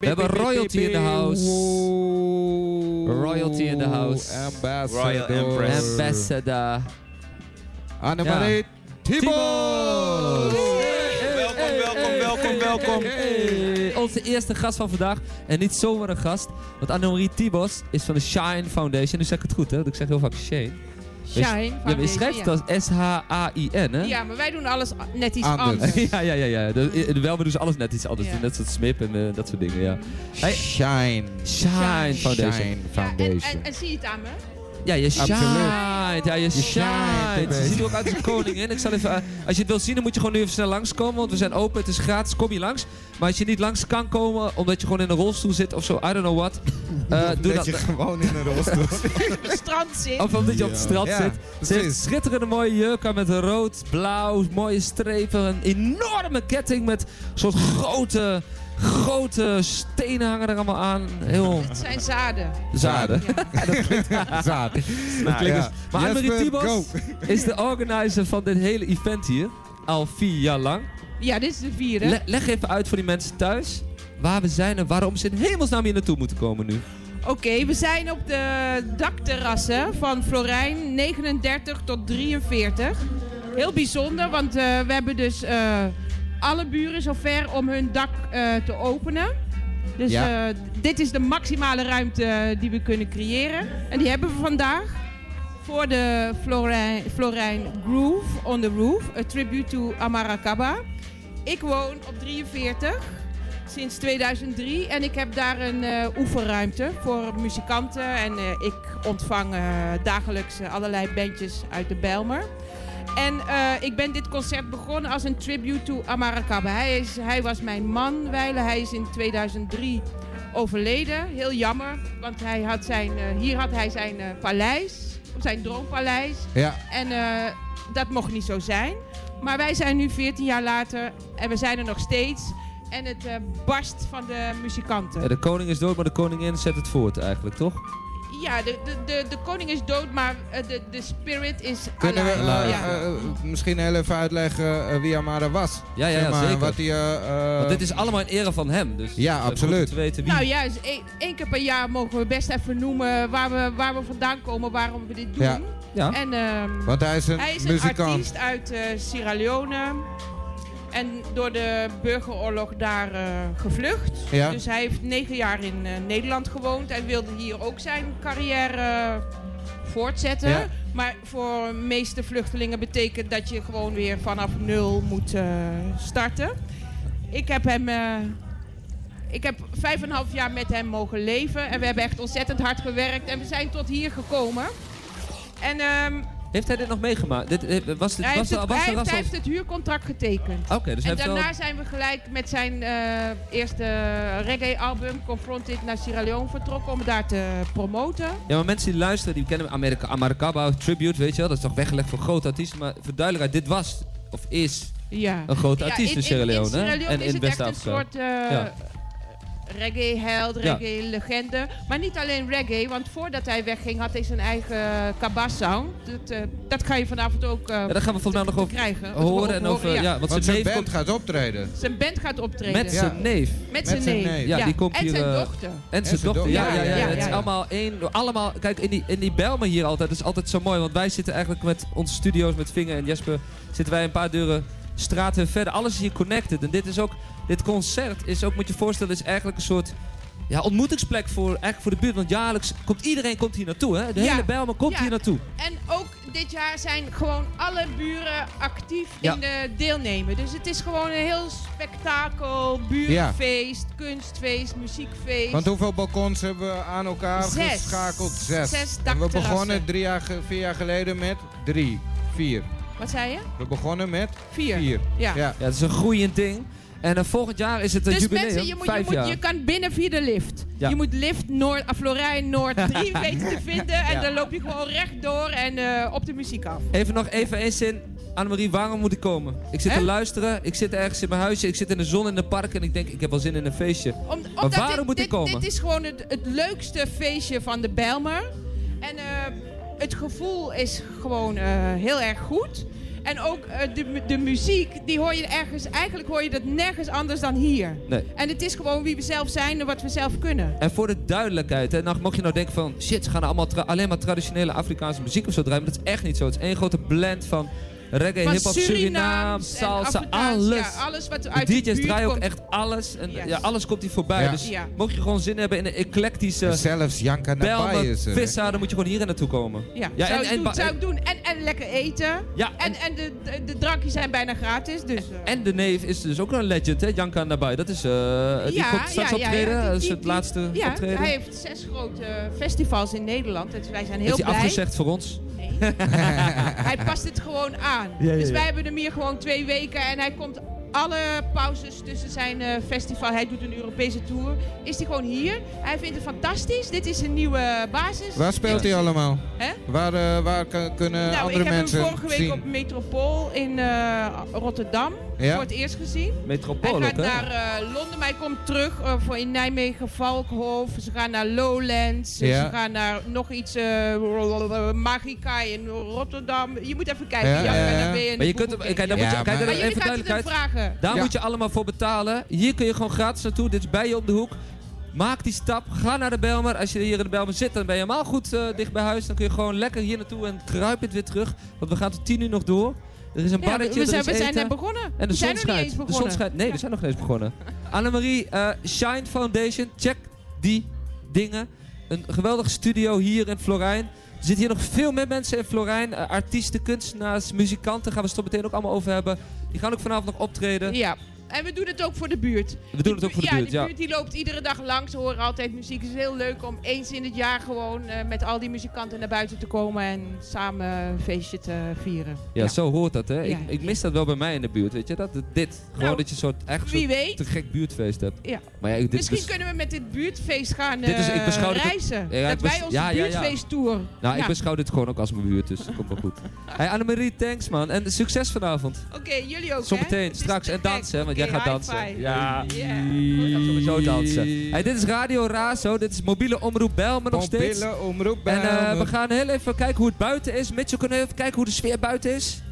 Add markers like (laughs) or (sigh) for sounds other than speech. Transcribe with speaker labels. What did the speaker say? Speaker 1: We hebben royalty in the house. Royalty in the house.
Speaker 2: Royal
Speaker 3: Ambassador.
Speaker 2: Empress.
Speaker 1: Ambassador.
Speaker 3: Annemarie Thibault.
Speaker 1: Thibault.
Speaker 2: Welkom, welkom, welkom, welkom.
Speaker 1: Hey, eh, Onze eerste gast van vandaag. En niet zomaar een gast. Want Annemarie Thibos is van de Shine Foundation. Nu zeg ik het goed, hè? Want ik zeg heel vaak Shine.
Speaker 4: Shine
Speaker 1: Ja, maar je
Speaker 4: Foundation,
Speaker 1: schrijft
Speaker 4: ja.
Speaker 1: het als S-H-A-I-N, hè?
Speaker 4: Ja, maar wij doen alles a- net iets
Speaker 3: Anders.
Speaker 1: (laughs)
Speaker 4: anders.
Speaker 1: ja, ja, ja. ja. De- in- wel, we doen ze alles net iets anders.
Speaker 4: Ja.
Speaker 1: doen Net zoals Smip en eh, dat soort dingen, ja. Hey.
Speaker 3: Shine.
Speaker 1: Shine
Speaker 3: Shine
Speaker 1: Foundation.
Speaker 4: Ja, en, en,
Speaker 3: Foundation.
Speaker 4: en zie je het aan me?
Speaker 1: Ja, je
Speaker 3: Absoluut.
Speaker 1: shined. Ja, je
Speaker 3: shined,
Speaker 1: shined. Ze
Speaker 3: baby.
Speaker 1: ziet er ook uit als een koningin. Ik zal even, eh, als je het wil zien, dan moet je gewoon nu even snel langskomen. Want we zijn open, het is gratis, kom je langs. Maar als je niet langs kan komen, omdat je gewoon in een rolstoel zit of zo, I don't know what. eh, doe dat.
Speaker 3: je gewoon in een rolstoel zit.
Speaker 4: Strand zit.
Speaker 1: Of omdat je op het strand
Speaker 3: Ja,
Speaker 1: zit. Ze heeft een
Speaker 3: precies.
Speaker 1: schitterende mooie jurk aan met rood, blauw, mooie strepen. Een enorme ketting met een soort grote, grote stenen hangen er allemaal aan. Heel
Speaker 4: Het zijn zaden.
Speaker 1: zaden. (laughs)
Speaker 3: Zaad.
Speaker 2: Nou,
Speaker 1: Klinkt
Speaker 3: Ja.
Speaker 1: dus-
Speaker 3: Jesper,
Speaker 1: Maar Annemarie Thibault
Speaker 3: go.
Speaker 1: is de organizer van dit hele event hier. Al vier jaar lang.
Speaker 4: Ja, dit is de vierde.
Speaker 1: Le- leg even uit voor die mensen thuis waar we zijn en waarom ze in hemelsnaam hier naartoe moeten komen nu.
Speaker 4: Oké, we zijn op de dakterrassen van Florijn 39 tot 43. Heel bijzonder, want eh, we hebben dus eh, alle buren zover om hun dak eh, te openen. Dus
Speaker 3: Ja.
Speaker 4: eh, dit is de maximale ruimte eh, die we kunnen creëren. En die hebben we vandaag voor de Florijn, Florijn Groove on the Roof, a tribute to Amarakaba. Ik woon op 43 sinds 2003 en ik heb daar een eh, oefenruimte voor muzikanten. En eh, ik ontvang eh, dagelijks eh, allerlei bandjes uit de Bijlmer. En eh, ik ben dit concert begonnen als een tribute to Amarakaba. Hij, is, hij was mijn man, Weile. Hij is in 2003 overleden. Heel jammer, want hij had zijn, eh, hier had hij zijn eh, paleis, zijn droompaleis.
Speaker 3: Ja.
Speaker 4: En eh, dat mocht niet zo zijn. Maar wij zijn nu 14 jaar later en we zijn er nog steeds. En het eh, barst van de muzikanten.
Speaker 1: Ja, de koning is dood, maar de koningin zet het voort eigenlijk, toch?
Speaker 4: Ja, de, de, de, de koning is dood, maar eh, de, de spirit is
Speaker 3: Kunnen we
Speaker 4: alive.
Speaker 3: eh,
Speaker 4: ja.
Speaker 3: eh, eh, misschien heel even uitleggen eh, wie Amara was?
Speaker 1: Ja, ja,
Speaker 3: Zeg
Speaker 1: ja,
Speaker 3: maar,
Speaker 1: zeker.
Speaker 3: Wat die, eh, eh,
Speaker 1: Want dit is allemaal in ere van hem. Dus
Speaker 3: Ja,
Speaker 1: we moeten
Speaker 3: absoluut.
Speaker 1: te weten wie.
Speaker 4: Nou juist, één één keer per jaar mogen we best even noemen waar we, waar we vandaan komen, waarom we dit doen.
Speaker 3: Ja.
Speaker 1: Ja.
Speaker 4: En ehm,
Speaker 3: Want hij is een,
Speaker 4: hij is een
Speaker 3: muzikant.
Speaker 4: artiest uit eh, Sierra Leone. En door de burgeroorlog daar eh, gevlucht.
Speaker 3: Ja.
Speaker 4: Dus hij heeft negen jaar in eh, Nederland gewoond. Hij wilde hier ook zijn carrière eh, voortzetten.
Speaker 3: Ja.
Speaker 4: Maar voor de meeste vluchtelingen betekent dat je gewoon weer vanaf nul moet eh, starten. Ik heb hem. eh, ik heb vijf en een half jaar met hem mogen leven. En we hebben echt ontzettend hard gewerkt. En we zijn tot hier gekomen. En ehm,
Speaker 1: Heeft hij dit nog meegemaakt? Dit, eh, was dit,
Speaker 4: hij,
Speaker 1: was,
Speaker 4: heeft
Speaker 1: er-
Speaker 4: het,
Speaker 1: was er
Speaker 4: hij, heeft,
Speaker 1: was er-
Speaker 4: hij heeft het huurcontract getekend.
Speaker 1: Oké, dus hij
Speaker 4: en
Speaker 1: heeft wel...
Speaker 4: daarna zijn we gelijk met zijn eh, eerste reggae-album Confronted naar Sierra Leone vertrokken om daar te promoten.
Speaker 1: Ja, maar mensen die luisteren, die kennen Amerika, Amerikaba, Tribute, weet je wel. Dat is toch weggelegd voor grote artiesten. Maar voor duidelijkheid, dit was, of is,
Speaker 4: Ja.
Speaker 1: een grote
Speaker 4: Ja,
Speaker 1: artiest in, Sierra Leone.
Speaker 4: In Sierra
Speaker 1: hè?
Speaker 4: Leone
Speaker 1: en
Speaker 4: is
Speaker 1: in
Speaker 4: het echt een
Speaker 1: West-Afrika.
Speaker 4: soort eh,
Speaker 1: Ja.
Speaker 4: reggae-held,
Speaker 1: Ja.
Speaker 4: reggae-legende. Maar niet alleen reggae, want voordat hij wegging had hij zijn eigen kabas-sound. Dat, eh, dat ga je vanavond ook eh,
Speaker 1: Ja, daar gaan we vandaag nog
Speaker 4: te
Speaker 1: over
Speaker 4: krijgen.
Speaker 1: horen. en over, ja.
Speaker 4: ja.
Speaker 1: want,
Speaker 3: Want
Speaker 1: zijn
Speaker 3: zijn
Speaker 1: neef
Speaker 3: band
Speaker 1: komt...
Speaker 3: gaat optreden.
Speaker 4: Zijn band gaat optreden.
Speaker 1: Met
Speaker 3: Ja.
Speaker 1: zijn neef.
Speaker 4: Met
Speaker 3: zijn
Speaker 4: zijn neef.
Speaker 3: neef.
Speaker 1: Ja, die komt
Speaker 4: en
Speaker 1: hier,
Speaker 4: zijn
Speaker 1: eh,
Speaker 4: dochter.
Speaker 1: En zijn dochter, ja, ja, ja,
Speaker 4: ja,
Speaker 1: Het is
Speaker 4: ja.
Speaker 1: allemaal één, allemaal, kijk, in die, in die Bijlmer hier altijd, dat is altijd zo mooi, want wij zitten eigenlijk met onze studio's, met Vinger en Jesper, zitten wij een paar deuren straten verder, alles is hier connected. En dit is ook, dit concert is ook, moet je je voorstellen, is eigenlijk een soort, ja, ontmoetingsplek voor, eigenlijk voor de buurt, want jaarlijks komt iedereen komt hier naartoe, hè? De
Speaker 4: Ja.
Speaker 1: hele Bijlmer komt
Speaker 4: Ja.
Speaker 1: hier naartoe.
Speaker 4: En ook dit jaar zijn gewoon alle buren actief
Speaker 1: Ja.
Speaker 4: in de deelnemen. Dus het is gewoon een heel spektakel, burenfeest, kunstfeest, muziekfeest.
Speaker 3: Want hoeveel balkons hebben we aan elkaar
Speaker 4: Zes.
Speaker 3: geschakeld? Zes. en
Speaker 4: Zes
Speaker 3: we
Speaker 4: dakterrassen.
Speaker 3: begonnen drie jaar, ge- vier jaar geleden met drie, vier.
Speaker 4: Wat zei je?
Speaker 3: We begonnen met
Speaker 4: Vier.
Speaker 3: vier.
Speaker 4: Ja.
Speaker 1: Ja, het is een groeiend ding. En eh, volgend jaar is het een
Speaker 4: Dus
Speaker 1: jubileum,
Speaker 4: mensen, je, moet, je,
Speaker 1: vijf
Speaker 4: moet,
Speaker 1: jaar.
Speaker 4: je kan binnen via de lift.
Speaker 1: Ja.
Speaker 4: Je moet lift Noord, ah, Florijn Noord
Speaker 1: (laughs)
Speaker 4: 3 weten te vinden. En dan loop je gewoon rechtdoor en eh, op de muziek af.
Speaker 1: Even nog even één zin. Annemarie, waarom moet ik komen? Ik zit te
Speaker 4: Hè?
Speaker 1: luisteren, ik zit ergens in mijn huisje, ik zit in de zon in het park en ik denk, ik heb wel zin in een feestje.
Speaker 4: Om, omdat
Speaker 1: waarom
Speaker 4: dit,
Speaker 1: moet die
Speaker 4: dit-
Speaker 1: komen?
Speaker 4: Dit is gewoon het, het leukste feestje van de Bijlmer. En eh, het gevoel is gewoon eh, heel erg goed. En ook eh, de, mu- de muziek, die hoor je ergens, eigenlijk hoor je dat nergens anders dan hier.
Speaker 1: Nee.
Speaker 4: En het is gewoon wie we zelf zijn en wat we zelf kunnen.
Speaker 1: En voor de duidelijkheid, hè, nou, mocht je nou denken van shit, ze gaan allemaal tra- alleen maar traditionele Afrikaanse muziek of zo draaien. Maar dat is echt niet zo. Het is één grote blend van reggae,
Speaker 4: Van
Speaker 1: hip-hop, Surinaam,
Speaker 4: en
Speaker 1: salsa,
Speaker 4: Afrikaans,
Speaker 1: alles.
Speaker 4: Ja, alles wat
Speaker 1: De
Speaker 4: uit de
Speaker 1: DJ's
Speaker 4: buurt
Speaker 1: draaien ook
Speaker 4: komt.
Speaker 1: echt alles. En
Speaker 4: Yes.
Speaker 1: ja, alles komt hier voorbij.
Speaker 3: Ja.
Speaker 1: Dus
Speaker 4: Ja.
Speaker 1: mocht je gewoon zin hebben in een eclectische
Speaker 3: Zelfs Janka Nabai
Speaker 1: Bijlmer,
Speaker 3: is eh, er. hè?
Speaker 1: Vissa, dan moet je gewoon hier naartoe komen.
Speaker 4: Ja,
Speaker 1: Ja,
Speaker 4: zou,
Speaker 1: en-
Speaker 4: ik
Speaker 1: en
Speaker 4: doen,
Speaker 1: ba-
Speaker 4: zou ik doen. En, en lekker eten.
Speaker 1: Ja, en,
Speaker 4: En, en de, de, de drankjes zijn bijna gratis, dus... eh.
Speaker 1: en de neef is dus ook een legend, hè? Janka Nabai. Dat is, eh, die
Speaker 4: Ja,
Speaker 1: komt straks
Speaker 4: ja, ja,
Speaker 1: optreden.
Speaker 4: ja, die-
Speaker 1: dat is
Speaker 4: die-
Speaker 1: het
Speaker 4: die-
Speaker 1: laatste
Speaker 4: ja,
Speaker 1: eh, optreden.
Speaker 4: hij heeft zes grote festivals in Nederland. Dus wij zijn heel
Speaker 1: is hij
Speaker 4: blij.
Speaker 1: afgezegd voor ons?
Speaker 4: Nee. (laughs) hij past het gewoon aan.
Speaker 1: Ja, ja,
Speaker 4: Dus
Speaker 1: ja.
Speaker 4: wij hebben hem hier gewoon twee weken en hij komt alle pauzes tussen zijn eh, festival. Hij doet een Europese tour. Is hij gewoon hier? Hij vindt het fantastisch. Dit is een nieuwe basis.
Speaker 3: Waar speelt hij allemaal?
Speaker 4: Hè?
Speaker 3: Waar, eh, waar k- kunnen
Speaker 4: nou,
Speaker 3: andere
Speaker 4: ik heb
Speaker 3: mensen
Speaker 4: hem vorige week
Speaker 3: zien?
Speaker 4: op Metropool in eh, Rotterdam
Speaker 3: Ja?
Speaker 4: voor het eerst gezien. Hij
Speaker 1: Metropool
Speaker 4: gaat
Speaker 1: ook, hè?
Speaker 4: naar eh, Londen, maar hij komt terug eh, voor in Nijmegen, Valkhof. Ze gaan naar Lowlands.
Speaker 3: Ja.
Speaker 4: Ze gaan naar nog iets eh Magica in Rotterdam. Je moet even kijken.
Speaker 3: Ja,
Speaker 4: Janka,
Speaker 3: ja, ja.
Speaker 4: dan ben je een
Speaker 1: Maar je kunt, hem-
Speaker 4: boekenkind.
Speaker 1: kijk, daar
Speaker 3: Ja,
Speaker 1: moet je,
Speaker 3: maar-
Speaker 1: kijk, daar
Speaker 4: Maar jullie
Speaker 1: even
Speaker 4: gaan het hem
Speaker 1: duidelijkheid.
Speaker 4: vragen.
Speaker 1: Daar
Speaker 3: Ja.
Speaker 1: moet je allemaal voor betalen. Hier kun je gewoon gratis naartoe. Dit is bij je op de hoek. Maak die stap. Ga naar de Belmer. Als je hier in de Belmer zit, dan ben je helemaal goed eh, dicht bij huis. Dan kun je gewoon lekker hier naartoe en kruip het weer terug. Want we gaan tot tien uur nog door. Er is een
Speaker 4: Ja,
Speaker 1: barretje,
Speaker 4: we
Speaker 1: er
Speaker 4: zijn,
Speaker 1: is
Speaker 4: we zijn
Speaker 1: eten.
Speaker 4: net begonnen.
Speaker 1: en de
Speaker 4: we zijn
Speaker 1: zon
Speaker 4: nog niet
Speaker 1: schijnt.
Speaker 4: eens
Speaker 1: De zon
Speaker 4: begonnen.
Speaker 1: schijnt. Nee, we zijn nog niet eens
Speaker 4: (laughs)
Speaker 1: begonnen. Annemarie, eh, Shine Foundation. Check die dingen. Een geweldige studio hier in Florijn. Er zitten hier nog veel meer mensen in Florijn. Eh, artiesten, kunstenaars, muzikanten. Gaan we het zo meteen ook allemaal over hebben. Die gaan ook vanavond nog optreden.
Speaker 4: Ja. En we doen het ook voor de buurt.
Speaker 1: We doen het ook voor de buurt,
Speaker 4: Ja,
Speaker 1: ja.
Speaker 4: de buurt die loopt iedere dag langs. Ze horen altijd muziek. Het is heel leuk om eens in het jaar gewoon eh, met al die muzikanten naar buiten te komen en samen een feestje te vieren.
Speaker 1: Ja, zo hoort dat, hè?
Speaker 4: Ja.
Speaker 1: Ik, ik mis dat wel bij mij in de buurt, weet je? Dat, dat- dit. Gewoon
Speaker 4: Nou,
Speaker 1: dat je zo'n echt
Speaker 4: Wie
Speaker 1: zo'n
Speaker 4: weet,
Speaker 1: te gek buurtfeest hebt.
Speaker 4: Ja.
Speaker 1: Maar ja, ik, dit
Speaker 4: misschien
Speaker 1: bes-
Speaker 4: kunnen we met dit buurtfeest gaan
Speaker 1: Dit is- ik
Speaker 4: eh,
Speaker 1: beschouw dit ook-
Speaker 4: reizen.
Speaker 1: Ja, ja, ik
Speaker 4: dat wij
Speaker 1: bes-
Speaker 4: onze
Speaker 1: ja, ja, ja.
Speaker 4: buurtfeesttour...
Speaker 1: nou, ik
Speaker 4: Ja.
Speaker 1: beschouw dit gewoon ook als mijn buurt, dus dat komt wel
Speaker 4: (laughs)
Speaker 1: goed. Hey, Annemarie, thanks man. En succes vanavond.
Speaker 4: Oké, jullie ook, hè?
Speaker 1: Zometeen,
Speaker 4: Het is
Speaker 1: straks.
Speaker 4: te
Speaker 1: En
Speaker 4: gek.
Speaker 1: dansen, hè, want jij
Speaker 4: Oké,
Speaker 1: gaat
Speaker 4: high
Speaker 1: dansen.
Speaker 4: five.
Speaker 1: Ja.
Speaker 4: Yeah.
Speaker 1: We gaan sowieso dansen. Hey, dit is Radio Razo, dit is mobiele omroep Belmen nog steeds.
Speaker 3: Pompillen, omroep
Speaker 1: En eh,
Speaker 3: Bijlmer.
Speaker 1: we gaan heel even kijken hoe het buiten is. Mitchell, kunnen we even kijken hoe de sfeer buiten is?